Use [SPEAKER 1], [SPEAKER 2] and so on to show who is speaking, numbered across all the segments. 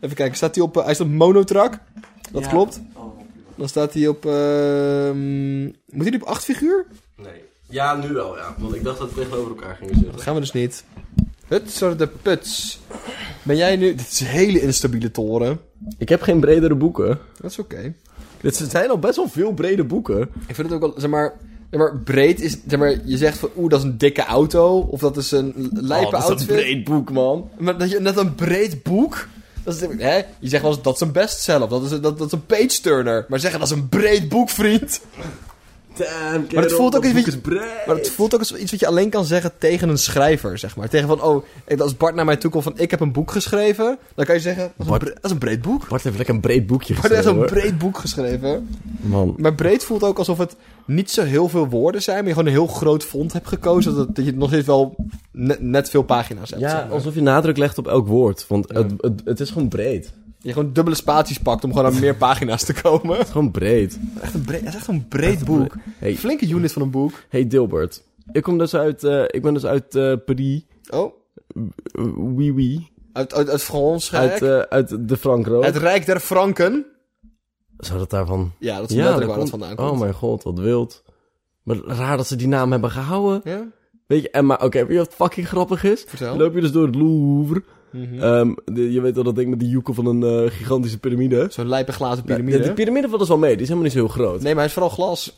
[SPEAKER 1] Even kijken, staat hij op... eh, hij staat op monotrak. Dat
[SPEAKER 2] Ja.
[SPEAKER 1] klopt.
[SPEAKER 2] Oh.
[SPEAKER 1] Dan staat hij op... ehm, moet hij op acht figuur?
[SPEAKER 2] Nee. Ja, nu wel, ja. Want ik dacht dat we tegenover elkaar gingen zitten.
[SPEAKER 1] Dat gaan we dus niet. Hutser de puts. Ben jij nu... Dit is een hele instabiele toren.
[SPEAKER 2] Ik heb geen bredere boeken.
[SPEAKER 1] Dat is oké.
[SPEAKER 2] Dit zijn al best wel veel brede boeken.
[SPEAKER 1] Ik vind het ook wel... Zeg maar... Zeg maar, breed is... Zeg maar, je zegt van... Oeh, dat is een dikke auto. Of dat is een lijpe
[SPEAKER 2] oh, dat is
[SPEAKER 1] outfit.
[SPEAKER 2] een breed boek, man.
[SPEAKER 1] Maar dat je net een breed boek. Dat is, hè? Je zegt wel eens dat is een bestseller. of Dat is, een- dat, dat is een page turner. Maar zeggen dat is een breed boek, vriend.
[SPEAKER 2] Damn,
[SPEAKER 1] het voelt ook
[SPEAKER 2] dat
[SPEAKER 1] eens
[SPEAKER 2] boek
[SPEAKER 1] wie-
[SPEAKER 2] is breed.
[SPEAKER 1] Maar het voelt ook als iets wat je alleen kan zeggen tegen een schrijver, zeg maar. Tegen van, oh, ik- als Bart naar mij toe komt van ik heb een boek geschreven. Dan kan je zeggen, dat is een,
[SPEAKER 2] Bart-
[SPEAKER 1] bre- dat is een breed boek.
[SPEAKER 2] Bart heeft lekker een breed boekje
[SPEAKER 1] Bart heeft
[SPEAKER 2] geschreven,
[SPEAKER 1] een
[SPEAKER 2] hoor.
[SPEAKER 1] breed boek geschreven.
[SPEAKER 2] Man.
[SPEAKER 1] Maar breed voelt ook alsof het niet zo heel veel woorden zijn. Maar je gewoon een heel groot font hebt gekozen. Dat, dat je nog steeds wel net, net veel pagina's hebt. zeg
[SPEAKER 2] Ja,
[SPEAKER 1] maar.
[SPEAKER 2] alsof je nadruk legt op elk woord. Want het, het, het is gewoon breed. Het
[SPEAKER 1] Je gewoon dubbele spaties pakt om gewoon aan meer pagina's te komen.
[SPEAKER 2] is gewoon breed.
[SPEAKER 1] Echt een breed, het is echt een breed
[SPEAKER 2] een
[SPEAKER 1] boek.
[SPEAKER 2] bre- Hey.
[SPEAKER 1] Flinke unit van een boek.
[SPEAKER 2] Hey Dilbert. Ik, kom dus uit, eh, ik ben dus uit eh Paris.
[SPEAKER 1] Oh,
[SPEAKER 2] Eh, Oui, oui.
[SPEAKER 1] uit, uit, uit Frans, gek.
[SPEAKER 2] Uit, eh, uit de Frankro.
[SPEAKER 1] het Rijk der Franken.
[SPEAKER 2] Zou dat daarvan...
[SPEAKER 1] Ja, dat is letterlijk waar dat
[SPEAKER 2] komt-
[SPEAKER 1] vandaan komt.
[SPEAKER 2] Oh mijn god, wat wild. Maar raar dat ze die naam hebben gehouden.
[SPEAKER 1] Ja?
[SPEAKER 2] Weet je, en maar oké, weet je wat fucking grappig is?
[SPEAKER 1] Vertel.
[SPEAKER 2] Dan loop je dus door het Louvre.
[SPEAKER 1] Mhm.
[SPEAKER 2] Ehm, de- je weet al dat ding met die joekel van een eh, gigantische piramide.
[SPEAKER 1] Zo'n lijpe glazen
[SPEAKER 2] Ja,
[SPEAKER 1] piramide.
[SPEAKER 2] die piramide valt dus wel mee, die is helemaal niet zo heel groot.
[SPEAKER 1] nee, maar hij is vooral glas.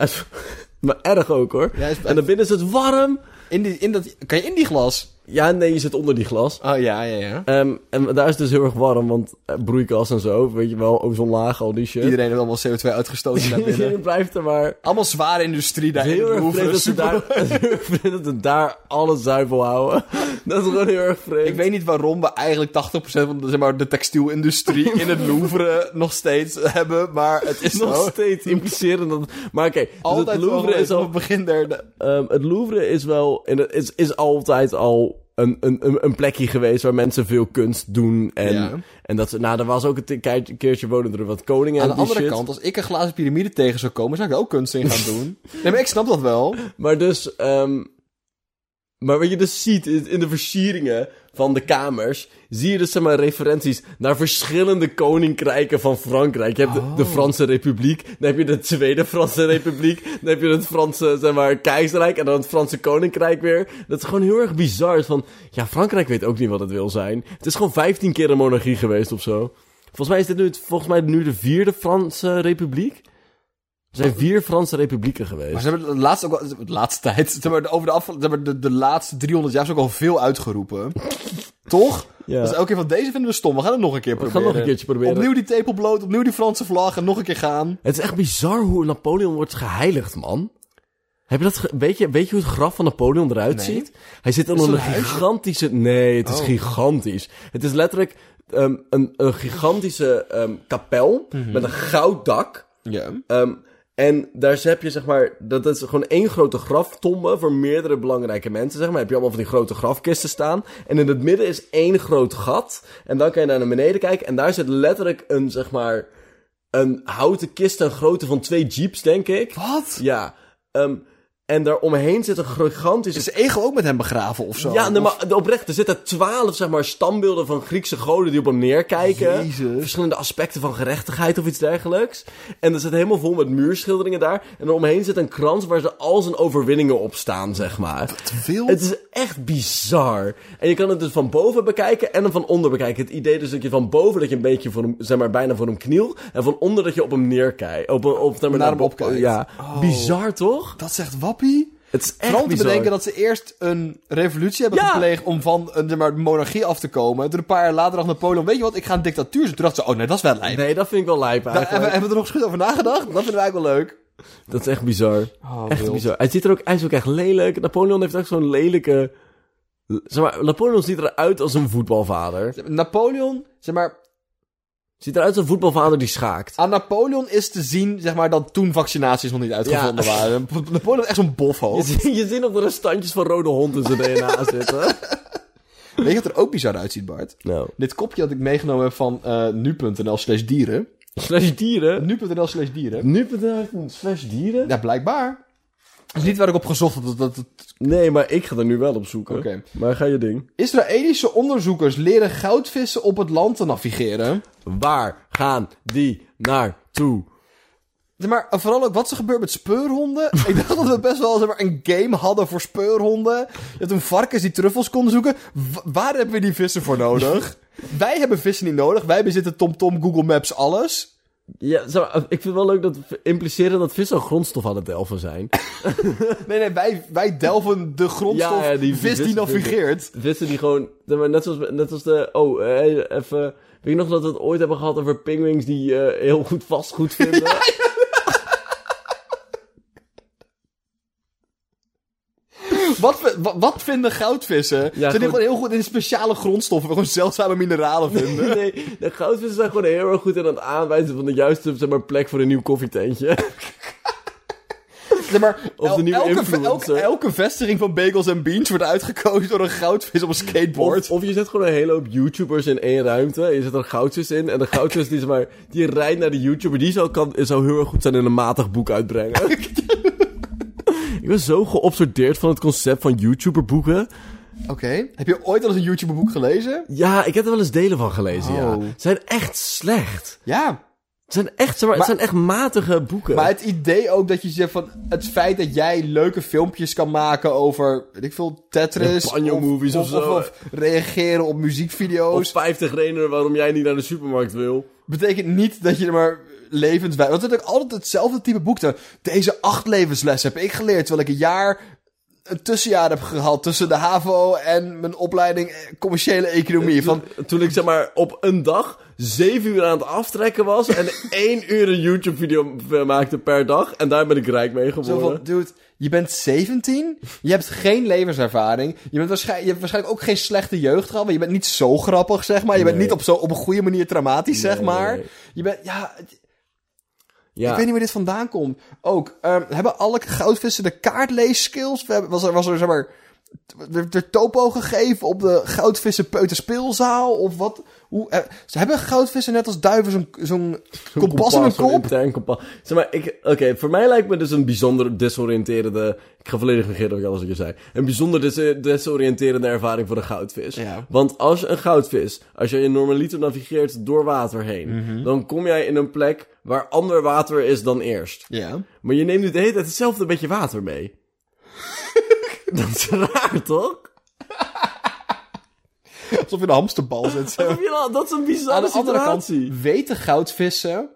[SPEAKER 2] maar erg ook hoor.
[SPEAKER 1] Ja, hij is-
[SPEAKER 2] En daarbinnen is het warm.
[SPEAKER 1] in die, in dat, kan je in die glas?
[SPEAKER 2] Ja, nee, je zit onder die glas.
[SPEAKER 1] Oh, ja, ja, ja.
[SPEAKER 2] Ehm, en daar is het dus heel erg warm, want eh, broeikas en zo, weet je wel, ozonlaag, al die shit.
[SPEAKER 1] Iedereen heeft allemaal CO2 uitgestoten naar binnen.
[SPEAKER 2] Iedereen blijft er maar...
[SPEAKER 1] Allemaal zware industrie daar in
[SPEAKER 2] heel
[SPEAKER 1] de
[SPEAKER 2] erg vreemd
[SPEAKER 1] hoeven.
[SPEAKER 2] dat ze
[SPEAKER 1] Super-
[SPEAKER 2] daar, heel erg vreemd dat ze daar alle zuivel houden. Dat is gewoon heel erg vreemd.
[SPEAKER 1] Ik weet niet waarom we eigenlijk 80% van de, zeg maar, de textielindustrie in het Louvre nog steeds hebben, maar het is
[SPEAKER 2] nog
[SPEAKER 1] zo.
[SPEAKER 2] steeds impliceren dat... Maar oké, dus
[SPEAKER 1] Altijd
[SPEAKER 2] het Louvre is al...
[SPEAKER 1] op begin der... de-
[SPEAKER 2] ehm, het Louvre is wel... en het is, is altijd al een, een, een een plekje geweest waar mensen veel kunst doen. En,
[SPEAKER 1] Ja.
[SPEAKER 2] en dat ze... Nou, er was ook een ti- kei- keertje wonen er wat koningen
[SPEAKER 1] Aan
[SPEAKER 2] en
[SPEAKER 1] de
[SPEAKER 2] die
[SPEAKER 1] andere
[SPEAKER 2] shit.
[SPEAKER 1] kant, als ik een glazen piramide tegen zou komen, zou ik er ook kunst in gaan doen. Nee, maar ik snap dat wel.
[SPEAKER 2] Maar dus, ehm, maar wat je dus ziet is in de versieringen van de kamers, zie je dus zeg maar referenties naar verschillende koninkrijken van Frankrijk. Je hebt de- de, Franse Republiek, dan heb je de Tweede Franse Republiek, dan heb je het Franse, zeg maar, Keizerrijk en dan het Franse Koninkrijk weer. Dat is gewoon heel erg bizar. Van, ja, Frankrijk weet ook niet wat het wil zijn. Het is gewoon 15 keer een monarchie geweest of zo. Volgens mij is dit nu, het- volgens mij nu de vierde Franse Republiek. Er zijn vier Franse republieken geweest.
[SPEAKER 1] Maar ze hebben de laatste, ook al, de laatste tijd, zeg maar, de- over de, af, zeg maar, de, de laatste 300 jaar is ook al veel uitgeroepen. Toch?
[SPEAKER 2] Ja.
[SPEAKER 1] Dus elke keer van deze vinden we stom, we gaan het nog een keer
[SPEAKER 2] gaan
[SPEAKER 1] proberen.
[SPEAKER 2] nog een keertje proberen.
[SPEAKER 1] Opnieuw die tepel bloot, opnieuw die Franse vlag en nog een keer gaan.
[SPEAKER 2] Het is echt bizar hoe Napoleon wordt geheiligd, man. Heb je dat ge- weet, je, weet je hoe het graf van Napoleon eruit
[SPEAKER 1] Nee.
[SPEAKER 2] ziet? Hij zit onder
[SPEAKER 1] dat
[SPEAKER 2] een
[SPEAKER 1] een huis?
[SPEAKER 2] gigantische... Nee, het is
[SPEAKER 1] Oh.
[SPEAKER 2] gigantisch. Het is letterlijk ehm, een, een gigantische ehm, kapel
[SPEAKER 1] Mhm.
[SPEAKER 2] met een goud dak.
[SPEAKER 1] Ja.
[SPEAKER 2] Ehm, en daar heb je, zeg maar, dat is gewoon één grote graftombe voor meerdere belangrijke mensen, zeg maar. Heb je allemaal van die grote grafkisten staan. En in het midden is één groot gat. En dan kan je naar naar beneden kijken. En daar zit letterlijk een, zeg maar, een houten kist, een grootte van twee jeeps, denk ik.
[SPEAKER 1] Wat?
[SPEAKER 2] Ja. ehm, en daaromheen zit een gigantische
[SPEAKER 1] Is Egel ook met hem begraven of zo?
[SPEAKER 2] ja, nee,
[SPEAKER 1] Of-
[SPEAKER 2] maar oprecht, er zitten twaalf zeg maar, standbeelden van Griekse goden die op hem neerkijken.
[SPEAKER 1] Jezus.
[SPEAKER 2] Verschillende aspecten van gerechtigheid of iets dergelijks. En er zit helemaal vol met muurschilderingen daar. En eromheen zit een krans waar ze al zijn overwinningen op staan, zeg maar.
[SPEAKER 1] wild.
[SPEAKER 2] Het is echt bizar. En je kan het dus van boven bekijken en dan van onder bekijken. Het idee dus dat je van boven dat je een beetje voor hem, zeg maar, bijna voor hem knielt. En van onder dat je op hem neerkijkt. Op, op, op,
[SPEAKER 1] Naar hem
[SPEAKER 2] bo-
[SPEAKER 1] opkijkt.
[SPEAKER 2] Ja,
[SPEAKER 1] Oh.
[SPEAKER 2] bizar toch?
[SPEAKER 1] Dat zegt Wappie.
[SPEAKER 2] Het is echt
[SPEAKER 1] Fransen
[SPEAKER 2] bizar.
[SPEAKER 1] bedenken dat ze eerst een revolutie hebben
[SPEAKER 2] Ja.
[SPEAKER 1] gepleegd om van een zeg maar, monarchie af te komen. En toen een paar jaar later dacht Napoleon, weet je wat, ik ga een dictatuur zetten. Toen dachten ze, oh nee, dat is wel lijp.
[SPEAKER 2] Nee, dat vind ik wel lijp
[SPEAKER 1] Daar
[SPEAKER 2] eigenlijk.
[SPEAKER 1] hebben, hebben we er nog eens goed over nagedacht? Dat vinden we eigenlijk wel leuk.
[SPEAKER 2] Dat is echt bizar. echt
[SPEAKER 1] wild.
[SPEAKER 2] bizar. Hij, ziet er ook, hij is ook echt lelijk. Napoleon heeft ook zo'n lelijke... Zeg maar, Napoleon ziet eruit als een voetbalvader.
[SPEAKER 1] Napoleon, zeg maar,
[SPEAKER 2] Ziet eruit als een voetbalvader die schaakt.
[SPEAKER 1] aan Napoleon is te zien, zeg maar, dat toen vaccinaties nog niet uitgevonden
[SPEAKER 2] Ja.
[SPEAKER 1] waren. Napoleon is echt zo'n
[SPEAKER 2] Je,
[SPEAKER 1] bofhoofd.
[SPEAKER 2] ziet- je ziet nog de restantjes van rode hond in zijn DNA zitten.
[SPEAKER 1] Weet je wat er ook bizar uitziet, Bart?
[SPEAKER 2] Nou.
[SPEAKER 1] Dit kopje dat ik meegenomen heb van eh, nu.nl slash dieren.
[SPEAKER 2] Slash dieren.
[SPEAKER 1] Nu.nl slash dieren.
[SPEAKER 2] Nu.nl heeft een slash dieren.
[SPEAKER 1] Ja, blijkbaar. is niet waar ik op gezocht had. Dat, dat, dat-
[SPEAKER 2] Nee, maar ik ga er nu wel op zoeken.
[SPEAKER 1] Oké.
[SPEAKER 2] Maar ga je ding.
[SPEAKER 1] Israëlische onderzoekers leren goudvissen op het land te navigeren.
[SPEAKER 2] Waar gaan die naartoe?
[SPEAKER 1] Maar vooral ook wat er gebeurt met speurhonden. ik dacht dat we best wel zeg maar, een game hadden voor speurhonden. Je had toen varkens die truffels konden zoeken. Wa- waar hebben we die vissen voor nodig? wij hebben vissen niet nodig. Wij bezitten TomTom, Google Maps, alles.
[SPEAKER 2] Ja, zeg maar, ik vind het wel leuk dat we impliceren dat vissen een grondstof aan het delven zijn.
[SPEAKER 1] Nee, nee, wij, wij delven de grondstof
[SPEAKER 2] Ja, ja, die- die
[SPEAKER 1] vis die
[SPEAKER 2] vissen
[SPEAKER 1] navigeert.
[SPEAKER 2] vissen die gewoon... zeg maar, net, zoals, net als de... Oh, eh, even... Weet je nog dat we het ooit hebben gehad over pingwings die eh, heel goed vastgoed vinden?
[SPEAKER 1] Wat, we- wa- wat vinden goudvissen? Ze Zijn die
[SPEAKER 2] goed.
[SPEAKER 1] gewoon heel goed in speciale grondstoffen, gewoon zeldzame mineralen vinden?
[SPEAKER 2] Nee, de goudvissen zijn gewoon heel erg goed in het aanwijzen van de juiste zeg maar, plek voor een nieuw koffietentje.
[SPEAKER 1] Zeg maar,
[SPEAKER 2] Of de
[SPEAKER 1] el-
[SPEAKER 2] nieuwe
[SPEAKER 1] elke,
[SPEAKER 2] influencer.
[SPEAKER 1] elke, elke vestiging van Bagels en Beans wordt uitgekozen door een goudvis op een skateboard.
[SPEAKER 2] Of, of je zet gewoon een hele hoop YouTubers in één ruimte. Je zet er een goudvis in. En de goudvis die, zeg maar, die rijdt naar de YouTuber. Die zou, kan, zou heel erg goed zijn in een matig boek uitbrengen. Ik ben zo geobsedeerd van het concept van YouTuber-boeken.
[SPEAKER 1] Oké. Heb je ooit al eens een YouTuber-boek gelezen?
[SPEAKER 2] Ja, ik heb er wel eens delen van gelezen, ja.
[SPEAKER 1] Oh.
[SPEAKER 2] Ze zijn echt slecht.
[SPEAKER 1] Ja.
[SPEAKER 2] Het zijn echt, zeg maar, het zijn echt matige boeken.
[SPEAKER 1] Maar het idee ook dat je zegt van... Het feit dat jij leuke filmpjes kan maken over... Weet ik veel, Tetris.
[SPEAKER 2] Ja, banjo-movies of zo,
[SPEAKER 1] reageren op
[SPEAKER 2] Of
[SPEAKER 1] muziekvideo's.
[SPEAKER 2] 50 redenen waarom jij niet naar de supermarkt wil.
[SPEAKER 1] Betekent niet dat je er maar levenswijs... Want het is ook altijd hetzelfde type boek. dan. Deze acht levenslessen heb ik geleerd. Terwijl ik een jaar... Een tussenjaar heb gehad tussen de HAVO en mijn opleiding eh, commerciële economie. Van,
[SPEAKER 2] Toen ik zeg maar op een dag zeven uur aan het aftrekken was en één uur een YouTube video maakte per dag. En daar ben ik rijk mee
[SPEAKER 1] Zo
[SPEAKER 2] geworden.
[SPEAKER 1] van, dude, je bent 17, je hebt geen levenservaring, je, bent waarschijn- je hebt waarschijnlijk ook geen slechte jeugd gehad, maar je bent niet zo grappig, zeg maar. Je bent
[SPEAKER 2] Nee.
[SPEAKER 1] niet op, zo, op een goede manier traumatisch, zeg
[SPEAKER 2] Nee.
[SPEAKER 1] maar. Je bent, ja, het-
[SPEAKER 2] ja.
[SPEAKER 1] ik weet niet waar dit vandaan komt. Ook, ehm, hebben alle goudvissen de kaartleesskills? We hebben- Was er, was er, zeg maar, werd er topo gegeven op de goudvissen peuterspeelzaal? Of wat? Hoe, eh, ze hebben goudvissen net als duiven zo'n zo'n kompas in hun
[SPEAKER 2] Een
[SPEAKER 1] kop?
[SPEAKER 2] intern kompas. Zeg maar, ik, oké, voor mij lijkt me dus een bijzonder desoriënterende... Ik ga volledig negeren wat ik alles wat je zei. Een bijzonder des- desoriënterende ervaring voor een goudvis.
[SPEAKER 1] Ja.
[SPEAKER 2] Want als een goudvis, als jij je normaliter navigeert door water heen...
[SPEAKER 1] Mhm.
[SPEAKER 2] dan kom jij in een plek waar ander water is dan eerst.
[SPEAKER 1] Ja.
[SPEAKER 2] Maar je neemt nu de hele tijd hetzelfde beetje water mee. dat is raar, toch?
[SPEAKER 1] Alsof je een hamsterbal zit, zo.
[SPEAKER 2] Heb je nou- Dat is een bizarre
[SPEAKER 1] Aan de andere kant
[SPEAKER 2] situatie.
[SPEAKER 1] weten goudvissen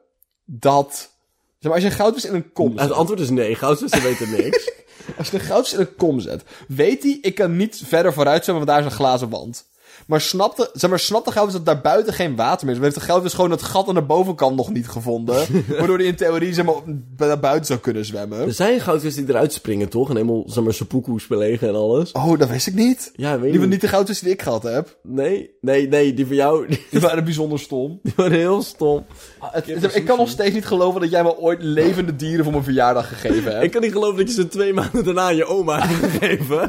[SPEAKER 1] dat. Zeg maar, als je een goudvis in een kom
[SPEAKER 2] Het
[SPEAKER 1] zet.
[SPEAKER 2] antwoord is nee. Goudvissen weten niks.
[SPEAKER 1] Als je een goudvis in een kom zet. Weet hij, ik kan niet verder vooruit zwemmen, want daar is een glazen wand. Maar snapt de, zeg maar, snapt de goudvis dat daar buiten geen water meer is? Maar heeft de goudvis gewoon dat gat aan de bovenkant nog niet gevonden? waardoor hij in theorie zeg maar, op- naar buiten zou kunnen
[SPEAKER 2] er
[SPEAKER 1] zwemmen.
[SPEAKER 2] zijn goudvissen die eruit springen, toch? En helemaal, zeg maar, seppuku's belegen en alles.
[SPEAKER 1] Oh, dat wist ik niet.
[SPEAKER 2] Ja, weet
[SPEAKER 1] Die
[SPEAKER 2] je
[SPEAKER 1] waren niet de goudvissen die ik gehad heb.
[SPEAKER 2] Nee, nee, nee. Die van jou, die
[SPEAKER 1] Die waren bijzonder stom. Ah,
[SPEAKER 2] waren heel stom.
[SPEAKER 1] Het- ik kan nog steeds niet geloven dat jij me ooit levende dieren voor mijn verjaardag gegeven hebt.
[SPEAKER 2] Ik kan niet geloven dat je ze twee maanden daarna aan je oma hebt gegeven.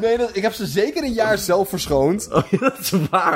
[SPEAKER 1] Nee, dat, ik heb ze zeker een jaar zelf verschoond.
[SPEAKER 2] Oh, ja, dat is waar.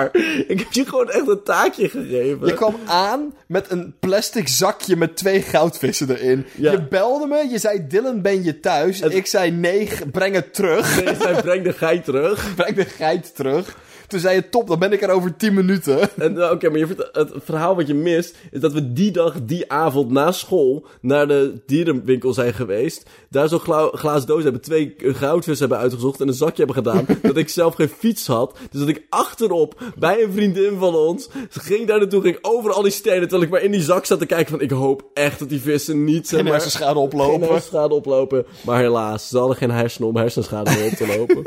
[SPEAKER 2] Ik heb je gewoon echt een taakje gegeven.
[SPEAKER 1] Je kwam aan met een plastic zakje met twee goudvissen erin.
[SPEAKER 2] Ja.
[SPEAKER 1] Je belde me, je zei Dylan, ben je thuis? Ik zei nee, g- breng het terug.
[SPEAKER 2] Nee, zij brengt de geit terug.
[SPEAKER 1] Breng de geit terug. Toen zei je top, dan ben ik er over 10 minuten.
[SPEAKER 2] En, nou, Oké, maar je vertelt- het verhaal wat je mist, is dat we die dag, die avond na school, naar de dierenwinkel zijn geweest. Daar zo'n gla glazen doos hebben, twee eh, goudvissen hebben uitgezocht en een zakje hebben gedaan. dat ik zelf geen fiets had. Dus dat ik achterop, bij een vriendin van ons, ging daar naartoe, ging over al die stenen. Terwijl ik maar in die zak zat te kijken van, ik hoop echt dat die vissen niet, zeg
[SPEAKER 1] En
[SPEAKER 2] maar,
[SPEAKER 1] hersenschade
[SPEAKER 2] geen
[SPEAKER 1] oplopen.
[SPEAKER 2] hersenschade oplopen. Maar helaas, ze hadden geen hersenen om hersenschade mee op te lopen.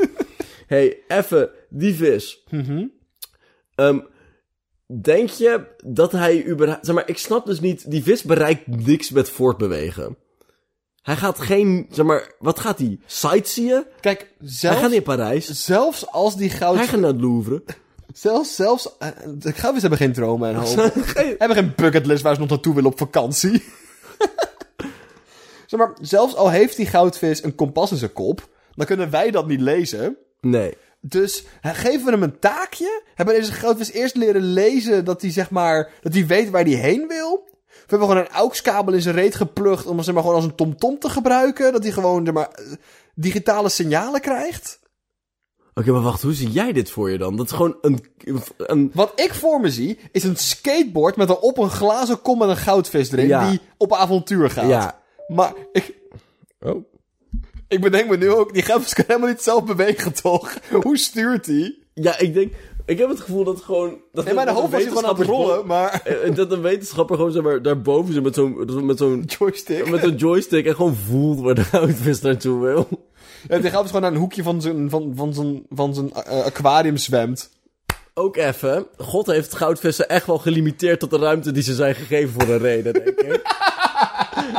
[SPEAKER 2] Mhm. hey, effe, die vis. Ehm, denk je dat hij überhaupt... Zeg maar, ik snap dus niet... Die vis bereikt niks met voortbewegen. Hij gaat geen... Zeg maar, wat gaat hij? Sightseeën?
[SPEAKER 1] Kijk,
[SPEAKER 2] Hij gaat
[SPEAKER 1] zelfs,
[SPEAKER 2] niet in Parijs.
[SPEAKER 1] zelfs als die
[SPEAKER 2] Hij
[SPEAKER 1] goud...
[SPEAKER 2] gaat naar het Louvre.
[SPEAKER 1] Zelfs, zelfs... eh, De goudvissen hebben geen dromen en hoop.
[SPEAKER 2] Geen-
[SPEAKER 1] hebben geen bucketlist waar ze nog naartoe willen op vakantie. zeg maar, zelfs al heeft die goudvis een kompas in zijn kop, dan kunnen wij dat niet lezen.
[SPEAKER 2] nee.
[SPEAKER 1] Dus hè, geven we hem een taakje? Hebben we deze goudvis eerst leren lezen dat hij zeg maar, dat hij weet waar hij heen wil? We hebben gewoon een AUX-kabel in zijn reet geplukt om hem zeg maar, gewoon als een tomtom te gebruiken. Dat hij gewoon zeg maar, eh, digitale signalen krijgt.
[SPEAKER 2] Oké, maar wacht, hoe zie jij dit voor je dan? Dat is gewoon een... een
[SPEAKER 1] Wat ik voor me zie, is een skateboard met op een glazen kom met een goudvis erin.
[SPEAKER 2] Ja.
[SPEAKER 1] Die op avontuur gaat.
[SPEAKER 2] ja.
[SPEAKER 1] Maar ik,
[SPEAKER 2] Oh.
[SPEAKER 1] ik bedenk me nu ook, die grafis kan helemaal niet zelf bewegen, toch? Hoe stuurt hij?
[SPEAKER 2] Ja, ik denk... Ik heb het gevoel dat gewoon... Dat
[SPEAKER 1] Nee, maar de
[SPEAKER 2] dat
[SPEAKER 1] hoofd was hij gewoon aan het
[SPEAKER 2] wetenschapper-
[SPEAKER 1] rollen, maar...
[SPEAKER 2] Eh, Dat een wetenschapper gewoon zeg maar, daarboven zit met zo'n met zo'n
[SPEAKER 1] Joystick.
[SPEAKER 2] met zo'n joystick en gewoon voelt waar de outfit naartoe wil.
[SPEAKER 1] Ja, die grafis gewoon naar een hoekje van zijn, van, van zijn, van zijn eh, aquarium zwemt.
[SPEAKER 2] Ook even, God heeft goudvissen echt wel gelimiteerd tot de ruimte die ze zijn gegeven voor een reden, denk ik.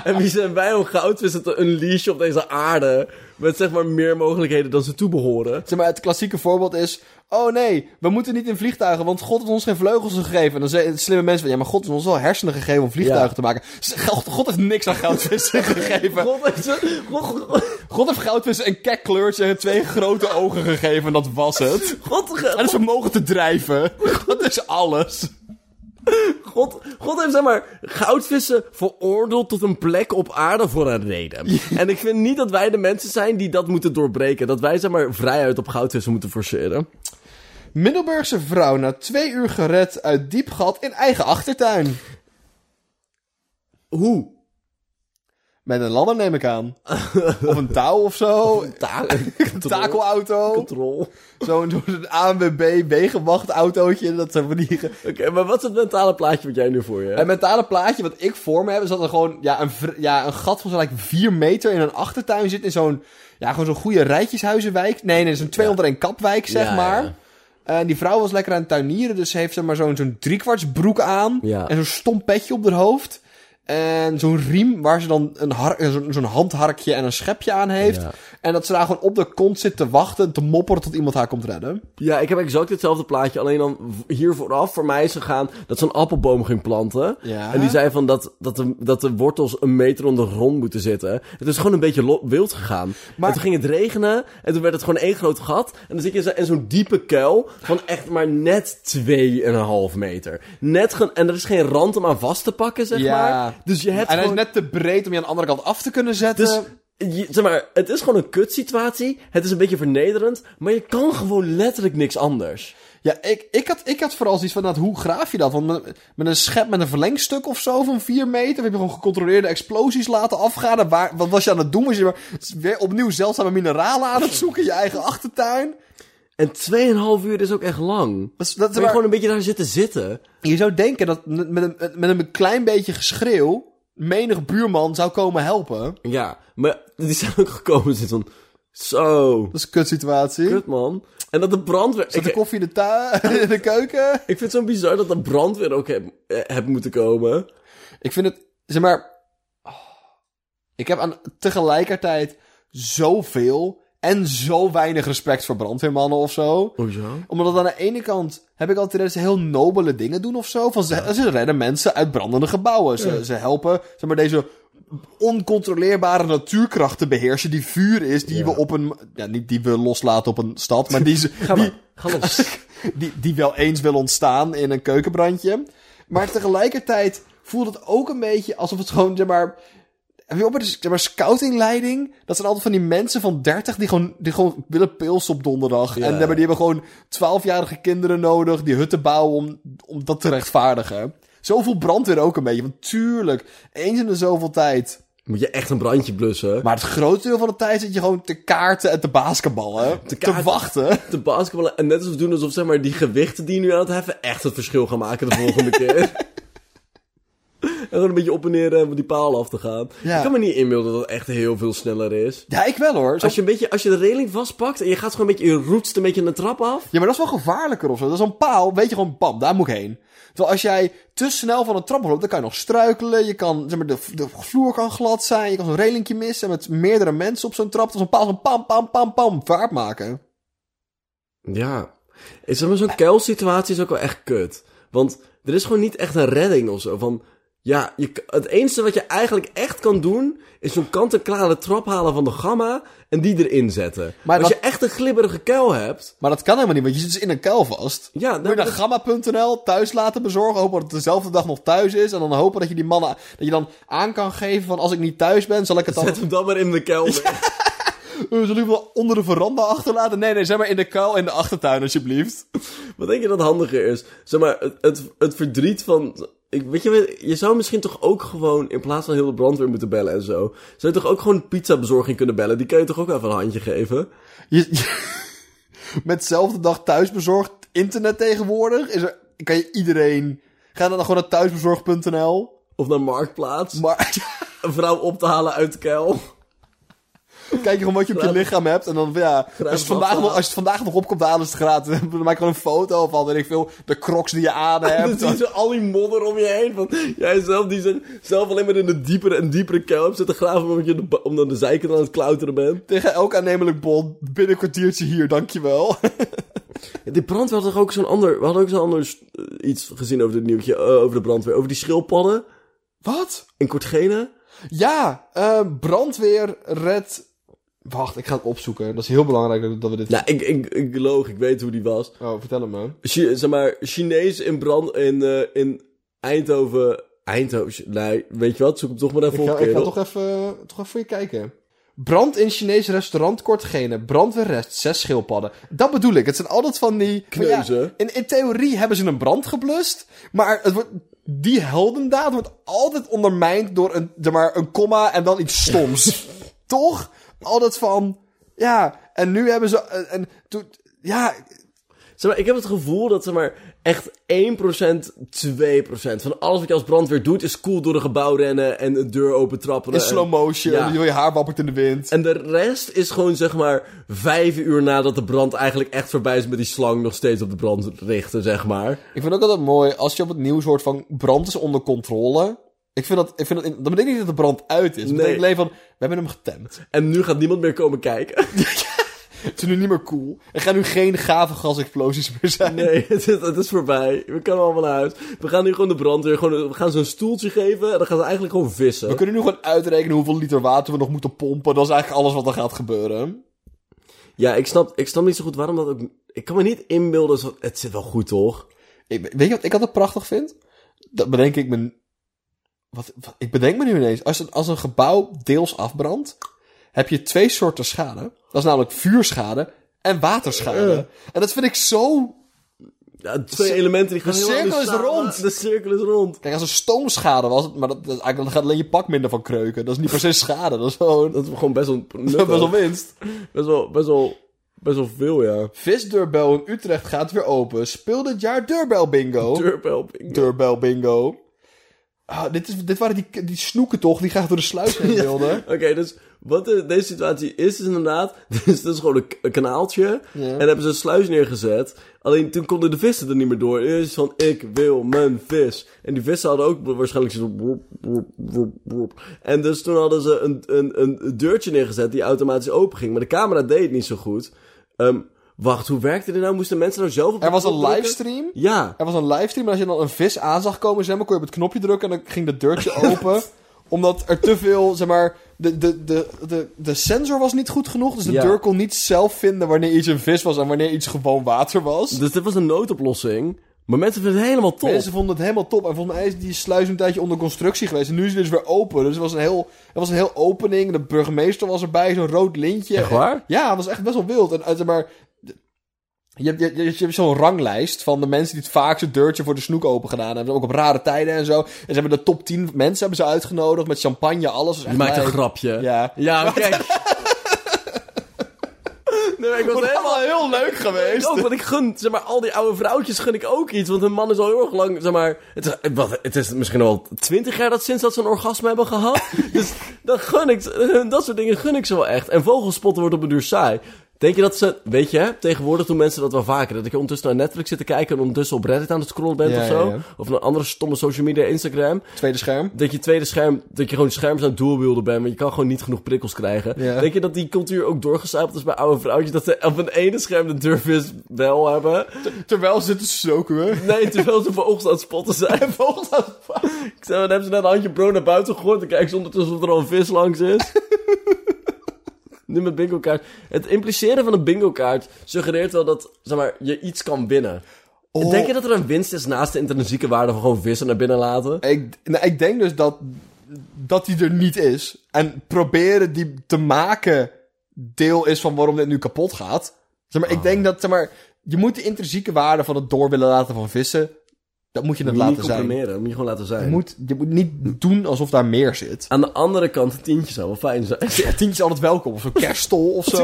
[SPEAKER 2] en wie zijn wij om goudvissen te unleashen op deze aarde? Met zeg maar meer mogelijkheden dan ze toebehoren.
[SPEAKER 1] Zeg maar, het klassieke voorbeeld is... Oh nee, we moeten niet in vliegtuigen, want God heeft ons geen vleugels gegeven. En dan zeggen slimme mensen van... Ja, maar God heeft ons wel hersenen gegeven om vliegtuigen
[SPEAKER 2] Ja.
[SPEAKER 1] te maken. Z- God, God heeft niks aan goudvissen gegeven.
[SPEAKER 2] God heeft ze- God, God,
[SPEAKER 1] God heeft goudvissen een kekkleurtje en twee grote ogen gegeven en dat was het.
[SPEAKER 2] God,
[SPEAKER 1] En ze mogen te drijven. Dat is alles.
[SPEAKER 2] God, God heeft zeg maar goudvissen veroordeeld tot een plek op aarde voor een reden. En ik vind niet dat wij de mensen zijn die dat moeten doorbreken. Dat wij zeg maar vrijheid op goudvissen moeten forceren.
[SPEAKER 1] Middelburgse vrouw na twee uur gered uit diep gat in eigen achtertuin.
[SPEAKER 2] Hoe?
[SPEAKER 1] Met een ladder neem ik aan. Of een touw of zo.
[SPEAKER 2] Ta control.
[SPEAKER 1] Takelauto.
[SPEAKER 2] Control. Oké,
[SPEAKER 1] Zo'n zo'n ANWB wegenwachtautootje. Dat zijn van die... ge-
[SPEAKER 2] maar wat is het mentale plaatje wat jij nu voor je hebt?
[SPEAKER 1] Het mentale plaatje wat ik voor me heb, is dat er gewoon ja, een, vr- ja, een gat van zo'n like, 4 meter in een achtertuin zit. In zo'n ja, gewoon zo'n goede rijtjeshuizenwijk. Nee, nee, zo'n 201 kapwijk, zeg
[SPEAKER 2] Ja,
[SPEAKER 1] maar.
[SPEAKER 2] ja.
[SPEAKER 1] En die vrouw was lekker aan het tuinieren, dus ze heeft zeg maar, zo'n zo'n driekwarts broek aan.
[SPEAKER 2] Ja.
[SPEAKER 1] En zo'n stom petje op haar hoofd. En zo'n riem waar ze dan een har- eh, zo'n zo'n handharkje en een schepje aan heeft.
[SPEAKER 2] Ja.
[SPEAKER 1] En dat ze daar gewoon op de kont zit te wachten, te mopperen tot iemand haar komt redden.
[SPEAKER 2] Ja, ik heb exact hetzelfde plaatje. Alleen dan v- hier vooraf voor mij is gegaan dat ze een appelboom ging planten.
[SPEAKER 1] Ja.
[SPEAKER 2] En die zei van dat, dat, de, dat de wortels een meter onder de grond moeten zitten. Het is gewoon een beetje lo- wild gegaan.
[SPEAKER 1] Maar-
[SPEAKER 2] En toen ging het regenen en toen werd het gewoon één groot gat. En dan zit je in zo- in zo'n diepe kuil van echt maar net 2,5 meter. Net ge- en er is geen rand om aan vast te pakken, zeg
[SPEAKER 1] Ja.
[SPEAKER 2] maar. Dus je hebt
[SPEAKER 1] en hij is eh,
[SPEAKER 2] gewoon...
[SPEAKER 1] net te breed om je aan de andere kant af te kunnen zetten.
[SPEAKER 2] Dus, je- zeg maar, het is gewoon een kutsituatie. Het is een beetje vernederend. Maar je kan gewoon letterlijk niks anders.
[SPEAKER 1] Ja, ik, ik, had, ik had vooral zoiets van, nou, hoe graaf je dat? Want met, met een schep met een verlengstuk of zo van 4 meter... heb je gewoon gecontroleerde explosies laten afgaan. En waar, wat was je aan het doen? Was je maar weer opnieuw zeldzame mineralen aan het zoeken in je eigen achtertuin?
[SPEAKER 2] En 2,5 uur is ook echt lang.
[SPEAKER 1] Dat, is- dat is
[SPEAKER 2] Wil je
[SPEAKER 1] waar-
[SPEAKER 2] gewoon een beetje daar zitten zitten?
[SPEAKER 1] Je zou denken dat n- met een, met een klein beetje geschreeuw... menig buurman zou komen helpen.
[SPEAKER 2] Ja, maar die zijn ook gekomen zitten van... Zo,
[SPEAKER 1] Dat is een kutsituatie.
[SPEAKER 2] kut man. En dat de brandweer...
[SPEAKER 1] Zet de
[SPEAKER 2] ik,
[SPEAKER 1] koffie in de, tuin, in de keuken.
[SPEAKER 2] ik vind het zo bizar dat de brandweer ook heb, eh, heb moeten komen.
[SPEAKER 1] Ik vind het, zeg maar. oh, ik heb aan tegelijkertijd zoveel en zo weinig respect voor brandweermannen of zo.
[SPEAKER 2] Hoezo?
[SPEAKER 1] Omdat aan de ene kant heb ik altijd dat ze heel nobele dingen doen of zo. Van ze, ze redden mensen uit brandende gebouwen. Ze, ze helpen, zeg maar, deze oncontroleerbare natuurkracht te beheersen. Die vuur is, die
[SPEAKER 2] Ja.
[SPEAKER 1] we op een. Ja, niet die we loslaten op een stad, maar die, ze,
[SPEAKER 2] Ga
[SPEAKER 1] die,
[SPEAKER 2] maar, ga los.
[SPEAKER 1] die, die wel eens wil ontstaan in een keukenbrandje. Maar tegelijkertijd voelt het ook een beetje alsof het gewoon, zeg maar... Heb je ook bij de zeg maar, scoutingleiding? Dat zijn altijd van die mensen van 30 die gewoon, die gewoon willen pils op donderdag.
[SPEAKER 2] Ja.
[SPEAKER 1] En hebben- die hebben gewoon 12-jarige kinderen nodig die hutten bouwen om, om dat te rechtvaardigen. Zoveel brandweer ook een beetje. Want tuurlijk, eens in de zoveel tijd.
[SPEAKER 2] Moet je echt een brandje blussen?
[SPEAKER 1] Maar het grootste deel van de tijd zit je gewoon te kaarten en te basketballen. Te,
[SPEAKER 2] kaarten.
[SPEAKER 1] wachten.
[SPEAKER 2] Te basketballen en net alsof doen alsof zeg maar, die gewichten die je nu aan het heffen echt het verschil gaan maken de volgende keer. En gewoon een beetje op en neer eh, om die paal af te gaan.
[SPEAKER 1] Ja.
[SPEAKER 2] Ik kan me niet inbeelden dat het echt heel veel sneller is.
[SPEAKER 1] Ja, ik wel hoor. Zo
[SPEAKER 2] Als je, een beetje, als je de reling vastpakt en je gaat gewoon een beetje, je roetst een beetje aan de trap af.
[SPEAKER 1] Ja, maar dat is wel gevaarlijker of zo. Dat is een paal, weet je gewoon, bam, daar moet ik heen. Terwijl als jij te snel van een trap loopt, dan kan je nog struikelen. Je kan, zeg maar, de, de vloer kan glad zijn. Je kan zo'n relingje missen met meerdere mensen op zo'n trap. Dat is een paal zo'n pam, pam, pam, pam, vaart maken.
[SPEAKER 2] Ja. Is zeg maar zo'n kuilsituatie is ook wel echt kut. Want er is gewoon niet echt een redding of zo. Van, Ja, je, k- het enige wat je eigenlijk echt kan doen, is zo'n kant-en-klare trap halen van de gamma en die erin zetten. Maar
[SPEAKER 1] Maar
[SPEAKER 2] als
[SPEAKER 1] dat-
[SPEAKER 2] je echt een glibberige kuil hebt,
[SPEAKER 1] Maar dat kan helemaal niet, want je zit dus in een kuil vast.
[SPEAKER 2] ja,
[SPEAKER 1] Moet je
[SPEAKER 2] dan,
[SPEAKER 1] naar
[SPEAKER 2] dat-
[SPEAKER 1] gamma.nl thuis laten bezorgen. Hopen dat het dezelfde dag nog thuis is. En dan hopen dat je die mannen. dat je dan aan kan geven van. als ik niet thuis ben, zal ik het dan.
[SPEAKER 2] zet hem dan maar in de kelder.
[SPEAKER 1] Eh, Zal ik wel onder de veranda achterlaten? Nee, nee, zeg maar in de kuil in de achtertuin, alsjeblieft.
[SPEAKER 2] Wat denk je dat handiger is? Zeg maar, het, het, het verdriet van... Ik, weet je, je zou misschien toch ook gewoon, in plaats van heel de brandweer moeten bellen en zo, zou je toch ook gewoon een pizzabezorging kunnen bellen? Die kan je toch ook even een handje geven?
[SPEAKER 1] Je, je- met zelfde dag thuisbezorgd internet tegenwoordig. Is er, kan je iedereen. Ga dan gewoon naar thuisbezorg.nl.
[SPEAKER 2] Of naar Marktplaats?
[SPEAKER 1] Maar
[SPEAKER 2] een vrouw op te halen uit de kuil?
[SPEAKER 1] kijk gewoon wat je op je lichaam hebt. En dan, ja, als,
[SPEAKER 2] wat
[SPEAKER 1] het vandaag
[SPEAKER 2] aan.
[SPEAKER 1] nog, als het vandaag nog opkomt, dan is het gratis. Dan maak ik gewoon een foto van, weet ik veel, de crocs die je aan
[SPEAKER 2] En dan
[SPEAKER 1] hebt.
[SPEAKER 2] zien ze al die modder om je heen. Van, jij zelf die zich zelf alleen maar in de diepere en diepere kuil hebt zitten graven... omdat je de, ba- omdat de zijkant aan het klauteren bent.
[SPEAKER 1] Tegen elk aannemelijk bol. Binnen een kwartiertje hier, dankjewel.
[SPEAKER 2] Ja, Die brandweer had toch ook zo'n ander... We hadden ook zo'n ander st- eh, iets gezien over dit nieuwtje, eh, over de brandweer. Over die schildpadden
[SPEAKER 1] Wat?
[SPEAKER 2] in Kortgene.
[SPEAKER 1] Ja, eh, brandweer red... Wacht, ik ga het opzoeken. Dat is heel belangrijk dat- dat we dit...
[SPEAKER 2] Nou, ik, ik, ik loog, ik weet hoe die was.
[SPEAKER 1] Oh, vertel hem, man.
[SPEAKER 2] Chi- zeg maar, Chinees in brand in, eh, in Eindhoven. Eindhoven, nee, weet je wat, zoek hem toch maar even
[SPEAKER 1] Ik
[SPEAKER 2] op,
[SPEAKER 1] ga, ik ga
[SPEAKER 2] kerel.
[SPEAKER 1] toch, even, toch even voor je kijken. Brand in Chinees restaurant Kortgene. Brandweer rest zes schildpadden. Dat bedoel ik. Het zijn altijd van die... maar ja,
[SPEAKER 2] Kneuzen.
[SPEAKER 1] in, in theorie hebben ze een brand geblust. Maar het wordt, die heldendaad wordt altijd ondermijnd door een, zeg maar, een komma en dan iets stoms. Toch? Altijd van... Ja, en nu hebben ze... En, en toen-
[SPEAKER 2] Eh,
[SPEAKER 1] ja,
[SPEAKER 2] Zeg maar, ik heb het gevoel dat, zeg maar, echt 1%, 2% van alles wat je als brandweer doet... is cool door een gebouw rennen en een deur open trappen.
[SPEAKER 1] in slow motion.
[SPEAKER 2] Ja.
[SPEAKER 1] Je haar wappert in de wind.
[SPEAKER 2] En de rest is gewoon, zeg maar, vijf uur nadat de brand eigenlijk echt voorbij is... met die slang nog steeds op de brand richten, zeg maar.
[SPEAKER 1] Ik vind ook altijd mooi als je op het nieuws hoort van brand is onder controle. Ik vind dat, ik vind dat, dat betekent niet dat de brand uit is. Dat betekent alleen van, we hebben hem getemd.
[SPEAKER 2] En nu gaat niemand meer komen kijken.
[SPEAKER 1] Het is nu niet meer cool. Er gaan nu geen gave gasexplosies meer zijn.
[SPEAKER 2] Nee, het is, het is voorbij. We kunnen allemaal naar huis. We gaan nu gewoon de brandweer. Gewoon, we gaan ze een stoeltje geven. En dan gaan ze eigenlijk gewoon vissen.
[SPEAKER 1] We kunnen nu gewoon uitrekenen hoeveel liter water we nog moeten pompen. Dat is eigenlijk alles wat er gaat gebeuren.
[SPEAKER 2] Ja, ik snap, ik snap niet zo goed waarom dat ook. Ik kan me niet inbeelden. Zo, het zit wel goed, toch?
[SPEAKER 1] Ik, weet je wat ik altijd prachtig vind? Dat bedenk ik me... Wat, wat- ik bedenk me nu ineens. Als een, als een gebouw deels afbrandt, heb je twee soorten schade. Dat is namelijk vuurschade en waterschade. En dat vind ik zo
[SPEAKER 2] Ja, twee elementen die gaan
[SPEAKER 1] de
[SPEAKER 2] heel
[SPEAKER 1] cirkel
[SPEAKER 2] anders
[SPEAKER 1] is
[SPEAKER 2] samen.
[SPEAKER 1] rond.
[SPEAKER 2] De cirkel is rond.
[SPEAKER 1] Kijk, als een stoomschade was het, maar dat, dat, eigenlijk, dan gaat alleen je pak minder van kreuken. Dat is niet per se schade, dat is gewoon
[SPEAKER 2] Dat is gewoon best wel
[SPEAKER 1] best
[SPEAKER 2] nuttig.
[SPEAKER 1] wel winst.
[SPEAKER 2] best wel, best wel, best wel veel, ja.
[SPEAKER 1] Visdeurbel in Utrecht gaat weer open. Speel dit jaar deurbel bingo.
[SPEAKER 2] Deurpelping.
[SPEAKER 1] deurbel bingo. Ah, dit, is, dit waren die, die snoeken toch, die graag door de sluis heen wilden.
[SPEAKER 2] Oké, dus wat de- deze situatie is, is inderdaad. Dus dat is gewoon een, k- een kanaaltje.
[SPEAKER 1] Ja.
[SPEAKER 2] En hebben ze een sluis neergezet. Alleen toen konden de vissen er niet meer door. Eerst is van: ik wil mijn vis. En die vissen hadden ook waarschijnlijk zo. woep, woep, woep, woep. En dus toen hadden ze een, een, een deurtje neergezet die automatisch open ging. Maar de camera deed het niet zo goed. Ehm, wacht, hoe werkte dit nou? Moesten mensen nou zelf op de
[SPEAKER 1] Er was een
[SPEAKER 2] knop drukken?
[SPEAKER 1] livestream.
[SPEAKER 2] Ja.
[SPEAKER 1] Er was een livestream en als je dan een vis aan zag komen zwemmen, kon je op het knopje drukken en dan ging de deurtje open. Omdat er te veel, zeg maar, de, de, de, de, de sensor was niet goed genoeg. Dus de
[SPEAKER 2] Ja.
[SPEAKER 1] deur kon niet zelf vinden wanneer iets een vis was en wanneer iets gewoon water was.
[SPEAKER 2] Dus dit was een noodoplossing. Maar mensen vinden het helemaal top.
[SPEAKER 1] Mensen vonden het helemaal top. En volgens mij is die sluis een tijdje onder constructie geweest. En nu is het dus weer open. Dus er was een heel, er was een heel opening. De burgemeester was erbij, zo'n rood lintje.
[SPEAKER 2] Echt waar?
[SPEAKER 1] Ja, het was echt best wel wild. En, eh, zeg maar, je hebt, je, hebt- je hebt- je hebt zo'n ranglijst van de mensen die het vaakst het deurtje voor de snoek open gedaan hebben. Ook op rare tijden en zo. En ze hebben de top 10 mensen hebben ze uitgenodigd met champagne, alles. Was echt
[SPEAKER 2] Je maakt een
[SPEAKER 1] lijp.
[SPEAKER 2] grapje.
[SPEAKER 1] Ja.
[SPEAKER 2] Ja, kijk. nee, maar ik was
[SPEAKER 1] Het is
[SPEAKER 2] helemaal...
[SPEAKER 1] allemaal heel leuk
[SPEAKER 2] Ik
[SPEAKER 1] geweest.
[SPEAKER 2] ook, want ik gun, zeg maar, al die oude vrouwtjes gun ik ook iets. Want hun man is al heel erg lang, zeg maar... Het is, wat, het is misschien al twintig jaar dat sinds dat ze een orgasme hebben gehad. dus dat gun ik, ze- hun- dat soort dingen gun ik ze wel echt. En vogelspotten wordt op een duur saai. Denk je dat ze... Weet je, hè, tegenwoordig doen mensen dat wel vaker. Dat ik ondertussen naar Netflix zit te kijken... en ondertussen op Reddit aan het scrollen bent
[SPEAKER 1] Ja,
[SPEAKER 2] of zo.
[SPEAKER 1] ja, ja.
[SPEAKER 2] Of naar andere stomme social media, Instagram.
[SPEAKER 1] Tweede scherm.
[SPEAKER 2] Dat je tweede scherm... Dat je gewoon scherms aan het doelwielden bent... want je kan gewoon niet genoeg prikkels krijgen.
[SPEAKER 1] Ja.
[SPEAKER 2] Denk je dat die cultuur ook doorgestapeld is bij oude vrouwtjes? Dat ze op een ene scherm de durvis wel hebben...
[SPEAKER 1] Terwijl ze zitten snoken.
[SPEAKER 2] Nee, terwijl ze vogels aan het spotten zijn. Vogels aan het spotten. Ik zei, dan hebben ze net een handje brood naar buiten gegooid. Dan kijken ze ondertussen of er al een vis langs is. nu met bingo-kaart. Het impliceren van een bingo-kaart suggereert wel dat zeg maar, je iets kan winnen.
[SPEAKER 1] Oh.
[SPEAKER 2] Denk je dat er een winst is naast de intrinsieke waarde van gewoon vissen naar binnen laten?
[SPEAKER 1] Ik, nou, ik denk dus dat, dat die er niet is. En proberen die te maken deel is van waarom dit nu kapot gaat. Zeg
[SPEAKER 2] Ah.
[SPEAKER 1] maar, ik denk dat, zeg maar, je moet de intrinsieke waarde van het door willen laten van vissen, dat moet je het
[SPEAKER 2] Moet je niet
[SPEAKER 1] laten zijn.
[SPEAKER 2] comprimeren, dat moet je gewoon laten
[SPEAKER 1] Je
[SPEAKER 2] zijn.
[SPEAKER 1] moet, je moet niet doen alsof daar meer zit.
[SPEAKER 2] Aan de andere kant, een tientje zou wel fijn zijn.
[SPEAKER 1] Ja, tientje is altijd welkom, of zo'n kerststol of zo.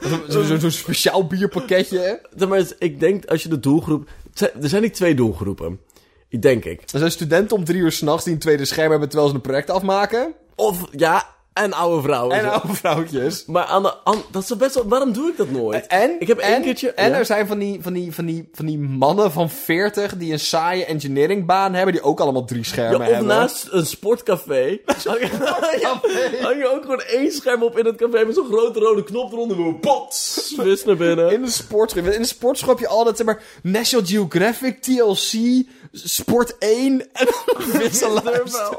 [SPEAKER 2] Zo'n
[SPEAKER 1] Zo'n zo'n- zo'n speciaal bierpakketje.
[SPEAKER 2] Zeg maar, ik denk als je de doelgroep... het zijn- Er zijn niet twee doelgroepen. Ik Denk ik.
[SPEAKER 1] Er zijn studenten om drie uur s'nachts die een tweede scherm hebben terwijl ze een project afmaken. Dus-
[SPEAKER 2] Of, ja, en oude vrouwen.
[SPEAKER 1] En oude vrouwtjes.
[SPEAKER 2] Maar aan de an- dat is toch best wel. Waarom doe ik dat nooit?
[SPEAKER 1] En,
[SPEAKER 2] ik heb
[SPEAKER 1] en,
[SPEAKER 2] één keertje.
[SPEAKER 1] en
[SPEAKER 2] Ja.
[SPEAKER 1] er zijn van die, van, die, van, die, van die mannen van 40 die een saaie engineeringbaan hebben, die ook allemaal drie
[SPEAKER 2] Ja,
[SPEAKER 1] schermen
[SPEAKER 2] of
[SPEAKER 1] hebben.
[SPEAKER 2] naast een sportcafé. hang, je, hang je ook gewoon één scherm op in het café met zo'n grote rode knop eronder. Boom, Pots! Wist naar binnen.
[SPEAKER 1] In de sportschop. In de sportschop heb je altijd zeg maar National Geographic, TLC, Sport 1 en vissen
[SPEAKER 2] wel.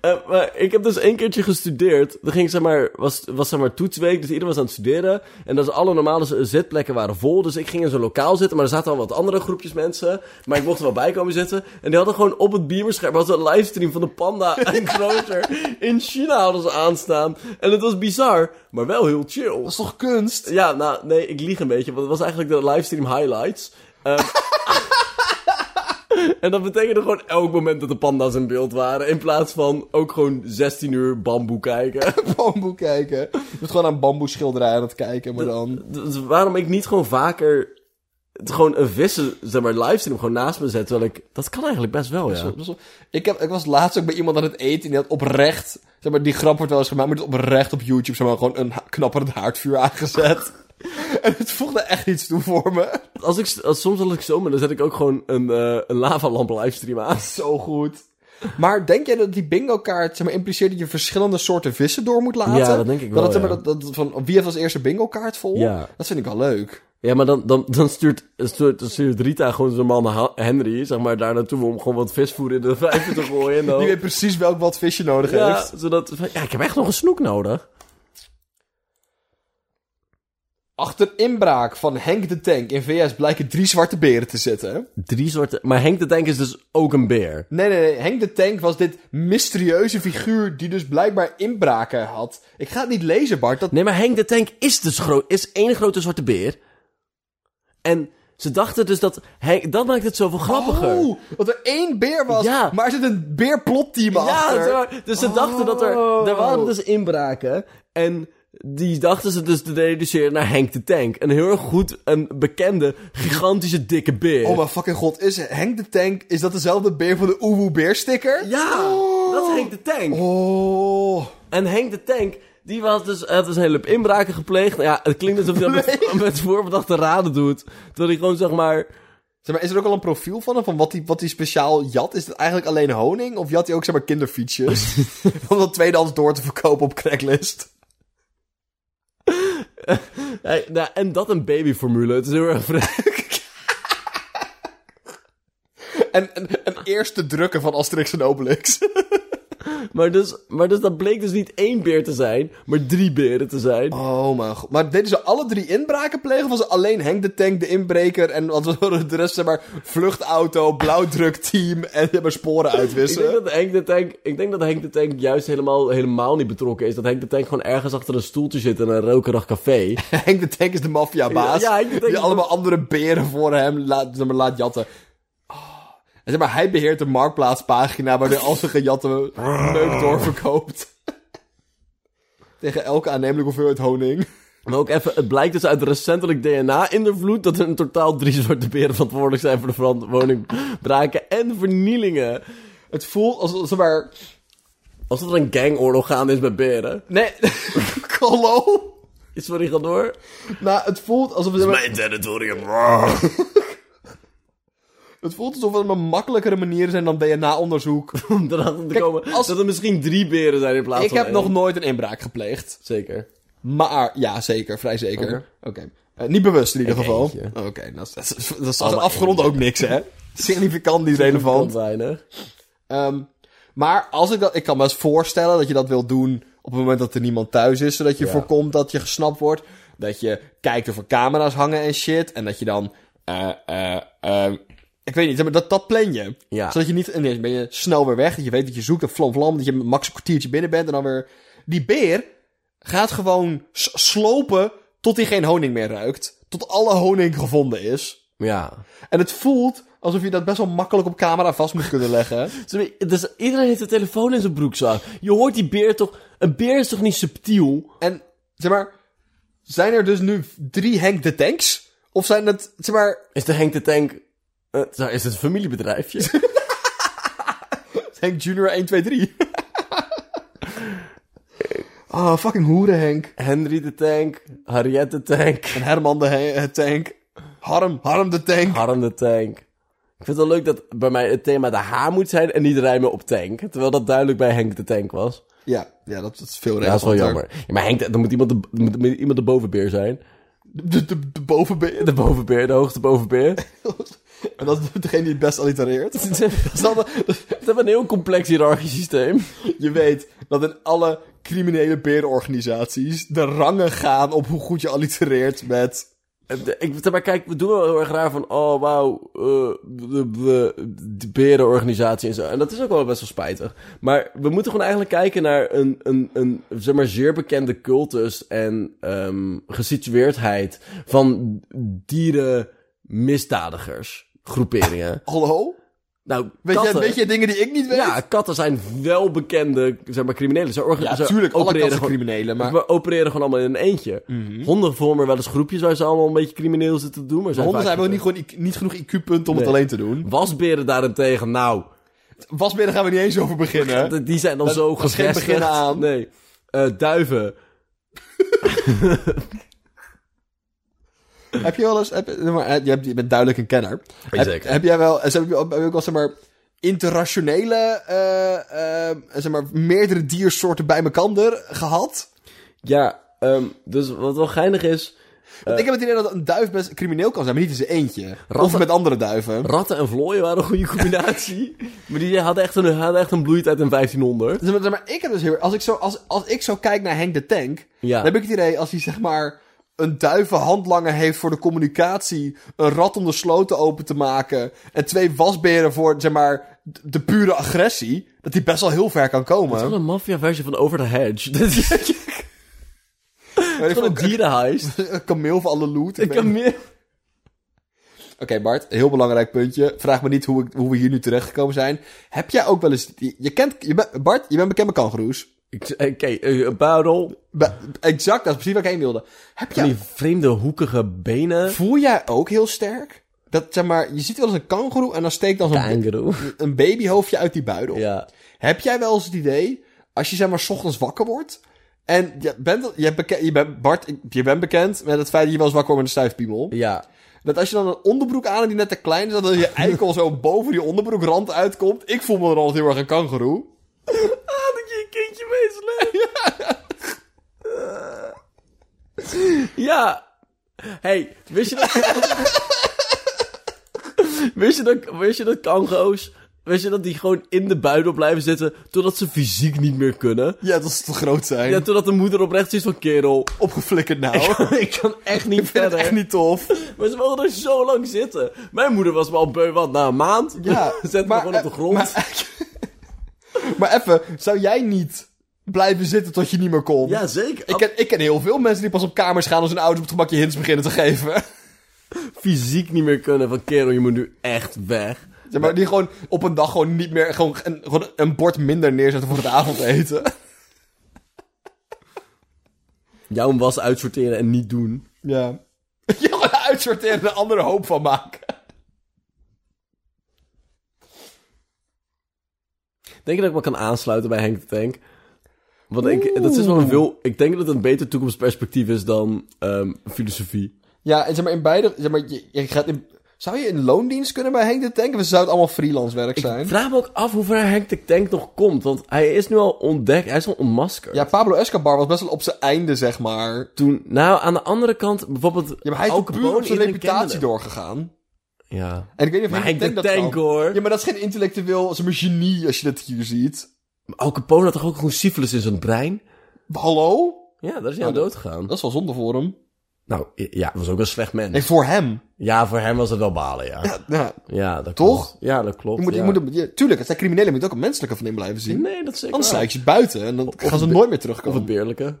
[SPEAKER 2] Eh, maar ik heb dus één keertje gestudeerd. Er ging, zeg maar, was, was zeg maar toetsweek, dus iedereen was aan het studeren. En dus alle normale z- zitplekken waren vol. Dus ik ging in zo'n lokaal zitten, maar er zaten al wat andere groepjes mensen. Maar ik mocht er wel bij komen zitten. En die hadden gewoon op het beamerscherm, was een livestream van de panda en groter. In China hadden ze aanstaan. En het was bizar, maar wel heel chill.
[SPEAKER 1] Dat is toch kunst?
[SPEAKER 2] Ja, nou, nee, ik lieg een beetje, want het was eigenlijk de livestream highlights. Ehm, en dat betekende gewoon elk moment dat de panda's in beeld waren, in plaats van ook gewoon 16 uur bamboe kijken.
[SPEAKER 1] Bamboe kijken. Je bent gewoon aan bamboe schilderijen aan het kijken, maar dan...
[SPEAKER 2] Dus waarom ik niet gewoon vaker het gewoon een vissen, zeg maar, livestream gewoon naast me zet, terwijl ik... Dat kan eigenlijk best wel, ja.
[SPEAKER 1] Dus Ik, heb, ik was laatst ook bij iemand aan het eten en die had oprecht... Zeg maar, die grap wordt wel eens gemaakt, maar die had oprecht op YouTube zeg maar, gewoon een ha- knapperend haardvuur aangezet. en het voegde echt iets toe voor me.
[SPEAKER 2] Als ik, s- als, soms als ik zo ben, dan zet ik ook gewoon een, eh een lavalamp livestream aan.
[SPEAKER 1] Zo goed. Maar denk jij dat die bingo-kaart zeg maar, impliceert dat je verschillende soorten vissen door moet laten?
[SPEAKER 2] Ja, dat denk ik wel,
[SPEAKER 1] het, zeg
[SPEAKER 2] ja.
[SPEAKER 1] maar, dat, dat, van, wie heeft als eerste bingo-kaart vol?
[SPEAKER 2] Ja.
[SPEAKER 1] Dat vind ik wel leuk.
[SPEAKER 2] Ja, maar dan, dan, dan stuurt, stuurt, stuurt Rita gewoon zijn man Ha- Henry, zeg maar, daar naartoe om gewoon wat visvoer in de vijver te gooien. En dan,
[SPEAKER 1] Die weet precies welk wat visje nodig
[SPEAKER 2] ja,
[SPEAKER 1] heeft.
[SPEAKER 2] zodat, van, ja, ik heb echt nog een snoek nodig.
[SPEAKER 1] Achter inbraak van Henk de Tank in VS blijken drie zwarte beren te zitten.
[SPEAKER 2] Drie soorten. Maar Henk de Tank is dus ook een beer.
[SPEAKER 1] Nee, nee, nee. Henk de Tank was dit mysterieuze figuur die dus blijkbaar inbraken had. Ik ga het niet lezen, Bart. Dat...
[SPEAKER 2] Nee, maar Henk de Tank is dus groot, is één grote zwarte beer. En ze dachten dus dat Henk, dat maakt het zoveel grappiger.
[SPEAKER 1] Oh, dat er één beer was,
[SPEAKER 2] Ja.
[SPEAKER 1] maar er zit een beerplotteam
[SPEAKER 2] Ja,
[SPEAKER 1] achter.
[SPEAKER 2] zeg maar, dus ze dachten dat er... Er waren dus inbraken. En die dachten ze dus te reduceren naar Henk de Tank. Een heel erg goed, een bekende, gigantische, dikke beer.
[SPEAKER 1] Oh mijn fucking god, is Henk de Tank, is dat dezelfde beer van de Oewoe beersticker?
[SPEAKER 2] Ja, dat is Henk de Tank.
[SPEAKER 1] Oh.
[SPEAKER 2] En Henk de Tank, die was dus, had dus een hele hoop inbraken gepleegd. Nou ja, het klinkt alsof hij dat met, met voorbedachte raden doet. Terwijl hij gewoon, zeg maar...
[SPEAKER 1] Zeg maar, is er ook al een profiel van hem? Van wat die, wat die speciaal jat? Is het eigenlijk alleen honing? Of jat hij ook, zeg maar, kinderfietsjes? Om dat tweedehands door te verkopen op Craigslist.
[SPEAKER 2] hij- nou, en dat een babyformule. Het is heel erg vreemd.
[SPEAKER 1] En en- een eerste drukken van Asterix en Obelix.
[SPEAKER 2] Maar dus, maar dus dat bleek dus niet één beer te zijn, maar drie beren te zijn.
[SPEAKER 1] Oh mijn god. Maar deden ze alle drie inbraken plegen? Of was het alleen Henk de Tank, de inbreker en wat was de rest? Zeg maar vluchtauto, blauwdrukteam en zeg maar, sporen
[SPEAKER 2] Ik denk,
[SPEAKER 1] uitwissen.
[SPEAKER 2] dat Henk de Tank, ik denk dat Henk de Tank juist helemaal, helemaal niet betrokken is. Dat Henk de Tank gewoon ergens achter een stoeltje zit in een rokerig café.
[SPEAKER 1] Henk de Tank is de maffiabaas.
[SPEAKER 2] Ja, ja, Henk de Tank
[SPEAKER 1] Die
[SPEAKER 2] is-
[SPEAKER 1] allemaal andere beren voor hem laat, zeg maar, laat jatten. Oh. En zeg maar, hij beheert de marktplaatspagina waar hij al zijn gejatte meuk doorverkoopt. Tegen elke aannemelijke hoeveelheid honing.
[SPEAKER 2] Maar ook even, het blijkt dus uit recentelijk DNA in de vloed dat er in totaal drie zwarte beren verantwoordelijk zijn voor de verant- woningbraken en vernielingen.
[SPEAKER 1] Het voelt als, als zeg maar...
[SPEAKER 2] Alsof er een gangoorlog gaande is met beren.
[SPEAKER 1] Nee, Kolo?
[SPEAKER 2] Sorry, ga door.
[SPEAKER 1] Nou, het voelt alsof het,
[SPEAKER 2] Mijn territorium.
[SPEAKER 1] het voelt alsof het een makkelijkere manier zijn dan DNA-onderzoek.
[SPEAKER 2] Om erachter te komen
[SPEAKER 1] als-
[SPEAKER 2] dat er misschien drie beren zijn in plaats
[SPEAKER 1] Ik
[SPEAKER 2] van
[SPEAKER 1] heb
[SPEAKER 2] één.
[SPEAKER 1] nog nooit een inbraak gepleegd.
[SPEAKER 2] Zeker.
[SPEAKER 1] Maar, ja, zeker. Vrij zeker. Oké.
[SPEAKER 2] Oké.
[SPEAKER 1] Eh, niet bewust in ieder
[SPEAKER 2] Eén
[SPEAKER 1] geval.
[SPEAKER 2] eentje.
[SPEAKER 1] Oké, nou, dat is, dat is, dat is als een
[SPEAKER 2] Allemaal
[SPEAKER 1] afgrond ook niks, hè? Significant, niet relevant.
[SPEAKER 2] Want weinig.
[SPEAKER 1] Ehm, maar als ik dat... Ik kan me eens voorstellen dat je dat wil doen op het moment dat er niemand thuis is. Zodat je
[SPEAKER 2] Ja.
[SPEAKER 1] voorkomt dat je gesnapt wordt. Dat je kijkt of er camera's hangen en shit. En dat je dan... eh, eh, eh, ik weet niet, maar dat, dat plan je.
[SPEAKER 2] Ja.
[SPEAKER 1] Zodat je niet... En dan ben je snel weer weg. Dat je weet dat je zoekt en vlam vlam. Dat je met max een kwartiertje binnen bent en dan weer... Die beer gaat gewoon s- slopen tot hij geen honing meer ruikt. Tot alle honing gevonden is.
[SPEAKER 2] Ja.
[SPEAKER 1] En het voelt alsof je dat best wel makkelijk op camera vast moet kunnen leggen.
[SPEAKER 2] Sorry, dus iedereen heeft een telefoon in zijn broekzak. Je hoort die beer toch... Een beer is toch niet subtiel?
[SPEAKER 1] En zeg maar, zijn er dus nu drie Henk de Tanks? Of zijn het, zeg maar,
[SPEAKER 2] Is de Henk de Tank... eh, nou, is het een familiebedrijfje?
[SPEAKER 1] Henk Junior 1, 2, 3? Ah, fucking hoeren Henk.
[SPEAKER 2] Henry de Tank. Harriet de Tank.
[SPEAKER 1] En Herman de He- eh, Tank. Harm, Harm de Tank.
[SPEAKER 2] Harm de Tank. Ik vind het wel leuk dat bij mij het thema de H moet zijn en niet rijmen op tank. Terwijl dat duidelijk bij Henk de Tank was.
[SPEAKER 1] Ja, ja dat, dat is veel
[SPEAKER 2] Ja, dat is wel
[SPEAKER 1] relevanter.
[SPEAKER 2] jammer. Ja, maar Henk, de- dan moet iemand de, moet, moet iemand de bovenbeer zijn.
[SPEAKER 1] De, de, de bovenbeen.
[SPEAKER 2] De bovenbeer, de hoogste bovenbeer.
[SPEAKER 1] En dat is degene die het best allitereert.
[SPEAKER 2] Ze
[SPEAKER 1] Snap je?
[SPEAKER 2] hebben een heel complex hiërarchisch systeem.
[SPEAKER 1] Je weet dat in alle criminele berenorganisaties de rangen gaan op hoe goed je allitereert met...
[SPEAKER 2] Eh, de- Ik, maar kijk, we doen wel heel erg raar van, oh wauw, eh, de, de, de berenorganisatie en zo. En dat is ook wel best wel spijtig. Maar we moeten gewoon eigenlijk kijken naar een, een, een zeg maar, zeer bekende cultus en ehm gesitueerdheid van dierenmisdadigers, groeperingen.
[SPEAKER 1] Hallo?
[SPEAKER 2] Nou,
[SPEAKER 1] Weet jij,
[SPEAKER 2] katten,
[SPEAKER 1] weet jij dingen die ik niet weet?
[SPEAKER 2] ja, katten zijn wel bekende, zeg maar, criminelen. Ze orga-
[SPEAKER 1] Ja,
[SPEAKER 2] ze
[SPEAKER 1] natuurlijk. Alle
[SPEAKER 2] opereren
[SPEAKER 1] katten zijn
[SPEAKER 2] gewoon-
[SPEAKER 1] criminelen, maar... Mhm.
[SPEAKER 2] we opereren gewoon allemaal in een eentje. Honden vormen wel eens groepjes waar ze allemaal een beetje crimineel zitten te doen. Maar zijn
[SPEAKER 1] Honden
[SPEAKER 2] vaak
[SPEAKER 1] zijn ook niet, gewoon IQ niet genoeg IQ-punten om het
[SPEAKER 2] Nee.
[SPEAKER 1] alleen te doen.
[SPEAKER 2] Wasberen daarentegen, nou,
[SPEAKER 1] Wasberen gaan we niet eens over beginnen.
[SPEAKER 2] d- die zijn dan
[SPEAKER 1] Dat-
[SPEAKER 2] zo
[SPEAKER 1] dat is geen
[SPEAKER 2] gevestigd.
[SPEAKER 1] beginnen aan.
[SPEAKER 2] Nee. Eh, duiven.
[SPEAKER 1] heb je wel eens... Heb, je- maar, eh, je, hebt, je bent duidelijk een kenner. Heb,
[SPEAKER 2] zeker.
[SPEAKER 1] heb jij wel... eh, Heb je, heb je ook wel, zeg maar... Internationele, eh, eh, zeg maar, meerdere diersoorten bij elkaar gehad.
[SPEAKER 2] Ja, ehm, dus wat wel geinig is,
[SPEAKER 1] Want ik heb het idee dat een duif best crimineel kan zijn, maar niet in zijn eentje. Of
[SPEAKER 2] Ratten-
[SPEAKER 1] met andere duiven.
[SPEAKER 2] ratten en vlooien waren een goede combinatie. maar die hadden echt, een, hadden echt een bloeitijd in 1500.
[SPEAKER 1] Zeg maar, zeg maar, ik heb dus heel als ik zo, als, als ik zo kijk naar Henk de Tank,
[SPEAKER 2] Ja.
[SPEAKER 1] dan heb ik het idee als hij zeg maar een duivenhandlanger heeft voor de communicatie, een rat om de sloten open te maken en twee wasberen voor zeg maar d- de pure agressie, dat hij best wel heel ver kan
[SPEAKER 2] Dat is
[SPEAKER 1] komen.
[SPEAKER 2] wel een maffia-versie van Over the Hedge. Dat is
[SPEAKER 1] Weet ik
[SPEAKER 2] gewoon een
[SPEAKER 1] veel,
[SPEAKER 2] dierenheist.
[SPEAKER 1] Een een kameel van alle loot. Ik
[SPEAKER 2] Ik
[SPEAKER 1] weet
[SPEAKER 2] kan
[SPEAKER 1] niet.
[SPEAKER 2] meer...
[SPEAKER 1] Oké Bart, heel belangrijk puntje. Vraag me niet hoe, ik, hoe we hier nu terechtgekomen zijn. Heb jij ook wel eens... Je, je kent... Je bent- Bart, je bent bekend met kangoeroes.
[SPEAKER 2] Ik- Oké, eh, een buidel.
[SPEAKER 1] Be- Exact, dat is precies waar ik heen wilde. Heb jij
[SPEAKER 2] Die vreemde hoekige benen.
[SPEAKER 1] Voel jij ook heel sterk? Dat, zeg maar, je ziet wel eens een kangoeroe en dan steekt dan zo'n
[SPEAKER 2] Kangaroo.
[SPEAKER 1] een babyhoofdje uit die buidel.
[SPEAKER 2] Ja.
[SPEAKER 1] Heb jij wel eens het idee, als je zeg maar 's ochtends wakker wordt... En je bent, je beken- je bent, Bart, ik- je bent bekend met het feit dat je wel eens wakker wordt met een stuifpiemel.
[SPEAKER 2] Ja.
[SPEAKER 1] Dat als je dan een onderbroek aan hebt die net te klein is... dat dan je eikel zo boven die onderbroekrand uitkomt. Ik voel me dan altijd heel erg een kangoeroe.
[SPEAKER 2] Ah, dat je je kindje meesleept. Ja. Hey, wist je dat... wist je dat, wist je dat kango's... Wist je dat die gewoon in de buidel blijven zitten... totdat ze fysiek niet meer kunnen?
[SPEAKER 1] Ja, dat ze te groot zijn.
[SPEAKER 2] Ja, totdat de moeder oprecht is van... Kerel,
[SPEAKER 1] Opgeflikkerd nou. Ik
[SPEAKER 2] ik kan echt niet
[SPEAKER 1] vind het
[SPEAKER 2] verder.
[SPEAKER 1] echt niet tof.
[SPEAKER 2] Maar ze mogen er zo lang zitten. Mijn moeder was me al beu, wat, na een maand?
[SPEAKER 1] Ja,
[SPEAKER 2] Zet me
[SPEAKER 1] maar-
[SPEAKER 2] gewoon op de grond.
[SPEAKER 1] Maar, maar even, zou jij niet blijven zitten tot je niet meer kon?
[SPEAKER 2] ja, zeker.
[SPEAKER 1] Ik ken, ik ken heel veel mensen die pas op kamers gaan als hun ouders op het gemakje hints beginnen te geven.
[SPEAKER 2] fysiek niet meer kunnen van... Kerel, je moet nu echt weg.
[SPEAKER 1] Zeg maar, die gewoon op een dag gewoon niet meer, gewoon een, gewoon een bord minder neerzetten voor het avondeten.
[SPEAKER 2] Jouw was uitsorteren en niet doen.
[SPEAKER 1] Ja. Je gewoon uitsorteren en een andere hoop van maken.
[SPEAKER 2] Denk je dat ik me kan aansluiten bij Henk de Tank? Want ik, dat is wel een veel... Ik denk dat het een beter toekomstperspectief is dan ehm, filosofie.
[SPEAKER 1] Ja, en zeg maar in beide... Zeg maar, je, je gaat in, zou je in loondienst kunnen bij Henk de Tank? Of zou het allemaal freelance werk zijn?
[SPEAKER 2] Ik vraag me ook af hoe ver Henk de Tank nog komt. Want hij is nu al ontdekt. Hij is al ontmaskerd.
[SPEAKER 1] Ja, Pablo Escobar was best wel op zijn einde, zeg maar.
[SPEAKER 2] Toen, nou, aan de andere kant, bijvoorbeeld...
[SPEAKER 1] Ja, maar hij is
[SPEAKER 2] Al
[SPEAKER 1] ook puur op
[SPEAKER 2] Capone,
[SPEAKER 1] zijn
[SPEAKER 2] iedereen
[SPEAKER 1] reputatie
[SPEAKER 2] kende
[SPEAKER 1] doorgegaan.
[SPEAKER 2] hem. Ja.
[SPEAKER 1] En ik weet niet of
[SPEAKER 2] Maar
[SPEAKER 1] Henk de Tank dat
[SPEAKER 2] Tank,
[SPEAKER 1] kan.
[SPEAKER 2] hoor.
[SPEAKER 1] Ja, maar dat is geen intellectueel, zeg maar, genie als je dat hier ziet.
[SPEAKER 2] Al Capone had toch ook gewoon syfilis in zijn brein?
[SPEAKER 1] Hallo?
[SPEAKER 2] Ja, daar is hij aan
[SPEAKER 1] Oh,
[SPEAKER 2] dood gegaan.
[SPEAKER 1] Dat is wel zonde voor hem.
[SPEAKER 2] Nou, ja, was ook een slecht mens.
[SPEAKER 1] Nee, voor hem.
[SPEAKER 2] Ja, voor hem was het wel balen, ja.
[SPEAKER 1] Ja, ja.
[SPEAKER 2] Ja, dat
[SPEAKER 1] Toch?
[SPEAKER 2] klopt. Ja, dat klopt.
[SPEAKER 1] Je moet,
[SPEAKER 2] ja.
[SPEAKER 1] je moet, hem- je- tuurlijk, het zijn criminelen, je moet ook een menselijke van in blijven zien.
[SPEAKER 2] Nee, dat is zeker
[SPEAKER 1] Anders
[SPEAKER 2] waar.
[SPEAKER 1] sluit je ze buiten en dan gaan ze nooit meer
[SPEAKER 2] Of
[SPEAKER 1] terugkomen.
[SPEAKER 2] het beerlijke.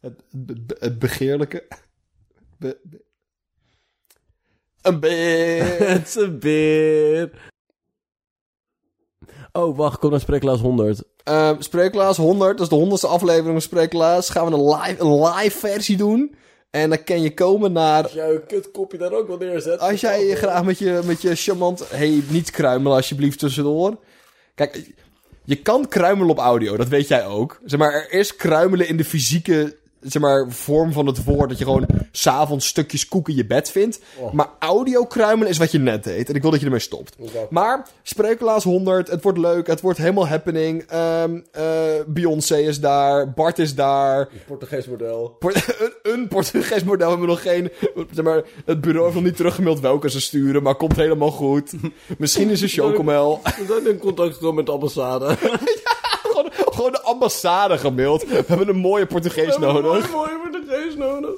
[SPEAKER 1] Het, be- be- het begeerlijke. Be- be- een beer.
[SPEAKER 2] Het is een beer. Oh, wacht, kom naar Spreeklaas 100.
[SPEAKER 1] Eh, Spreeklaas 100, dat is de honderdste aflevering van Spreeklaas. Gaan we een live, een live versie doen. En dan kan je komen naar...
[SPEAKER 2] Jouw kutkopje daar ook wel neerzet.
[SPEAKER 1] Als jij je graag met je, met je charmant... hey, niet kruimelen alsjeblieft tussendoor. Kijk, je kan kruimelen op audio, dat weet jij ook. Zeg maar, er is kruimelen in de fysieke zeg maar, vorm van het woord. Dat je gewoon s'avonds stukjes koek in je bed vindt. Maar audio kruimelen is wat je net deed. En ik wil dat je ermee stopt. Maar Spreeklaas 100, het wordt leuk. Het wordt helemaal happening. Ehm, eh, Beyoncé is daar. Bart is daar.
[SPEAKER 2] Portugees model.
[SPEAKER 1] Port- een, een Portugees model hebben we nog geen. Zeg maar, het bureau heeft nog niet teruggemeld welke ze sturen, maar komt helemaal goed. Misschien is een chocomel.
[SPEAKER 2] We zijn in contact gekomen met de ambassade.
[SPEAKER 1] gewoon, gewoon de ambassade gemaild. We hebben een mooie Portugees nodig.
[SPEAKER 2] Mooi, mooi Portugees nodig.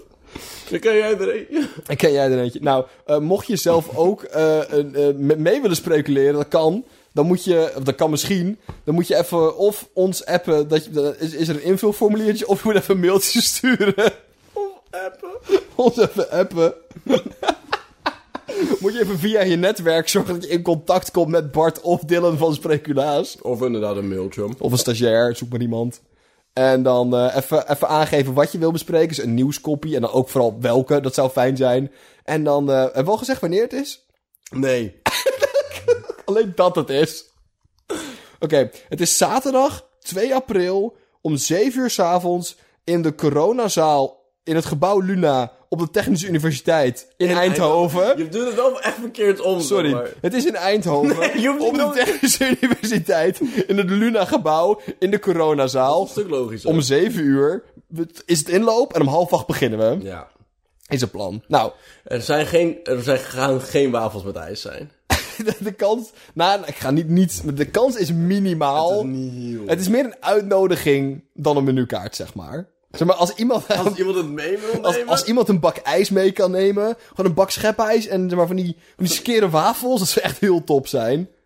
[SPEAKER 2] Dan kan jij er een.
[SPEAKER 1] En ken jij er eentje? Nou, eh, mocht je zelf ook eh, een, eh, me- mee willen speculeren, dat kan. Dan moet je, of dat kan misschien, dan moet je even of ons appen, dat je, dan is, is er een invulformuliertje, of je moet even een mailtje sturen.
[SPEAKER 2] Of appen.
[SPEAKER 1] Ons even appen. Moet je even via je netwerk zorgen dat je in contact komt met Bart of Dylan van Spreculaas.
[SPEAKER 2] Of inderdaad een mailtje.
[SPEAKER 1] Of een stagiair, zoek maar iemand. En dan eh, even, even aangeven wat je wil bespreken. Dus een nieuwskopie en dan ook vooral welke, dat zou fijn zijn. En dan, eh hebben we al gezegd wanneer het is?
[SPEAKER 2] Nee.
[SPEAKER 1] Alleen dat het is. Oké, het is zaterdag 2 april om 7 uur s avonds in de coronazaal in het gebouw Luna op de Technische Universiteit in, Eindhoven.
[SPEAKER 2] Je doet het wel echt verkeerd om.
[SPEAKER 1] Sorry,
[SPEAKER 2] maar-
[SPEAKER 1] het is in Eindhoven.
[SPEAKER 2] Nee, je hoeft niet
[SPEAKER 1] op de
[SPEAKER 2] nog-
[SPEAKER 1] Technische Universiteit. In het Luna-gebouw. In de
[SPEAKER 2] Een
[SPEAKER 1] coronazaal.
[SPEAKER 2] stuk logischer.
[SPEAKER 1] Om 7 uur is het inloop en om half acht beginnen we.
[SPEAKER 2] Ja.
[SPEAKER 1] Is het plan. Nou,
[SPEAKER 2] Er, zijn geen, er zijn, gaan geen wafels met ijs zijn.
[SPEAKER 1] de, de kans. Nou, ik ga niet. niet maar de kans is minimaal. Het is,
[SPEAKER 2] niet heel.
[SPEAKER 1] meer een uitnodiging dan een menukaart, zeg maar. Zeg maar, als iemand.
[SPEAKER 2] Als iemand het mee wil
[SPEAKER 1] Als,
[SPEAKER 2] nemen...
[SPEAKER 1] als iemand een bak ijs mee kan nemen, gewoon een bak schepijs en zeg maar, van die, van die skere wafels, dat zou echt heel top zijn.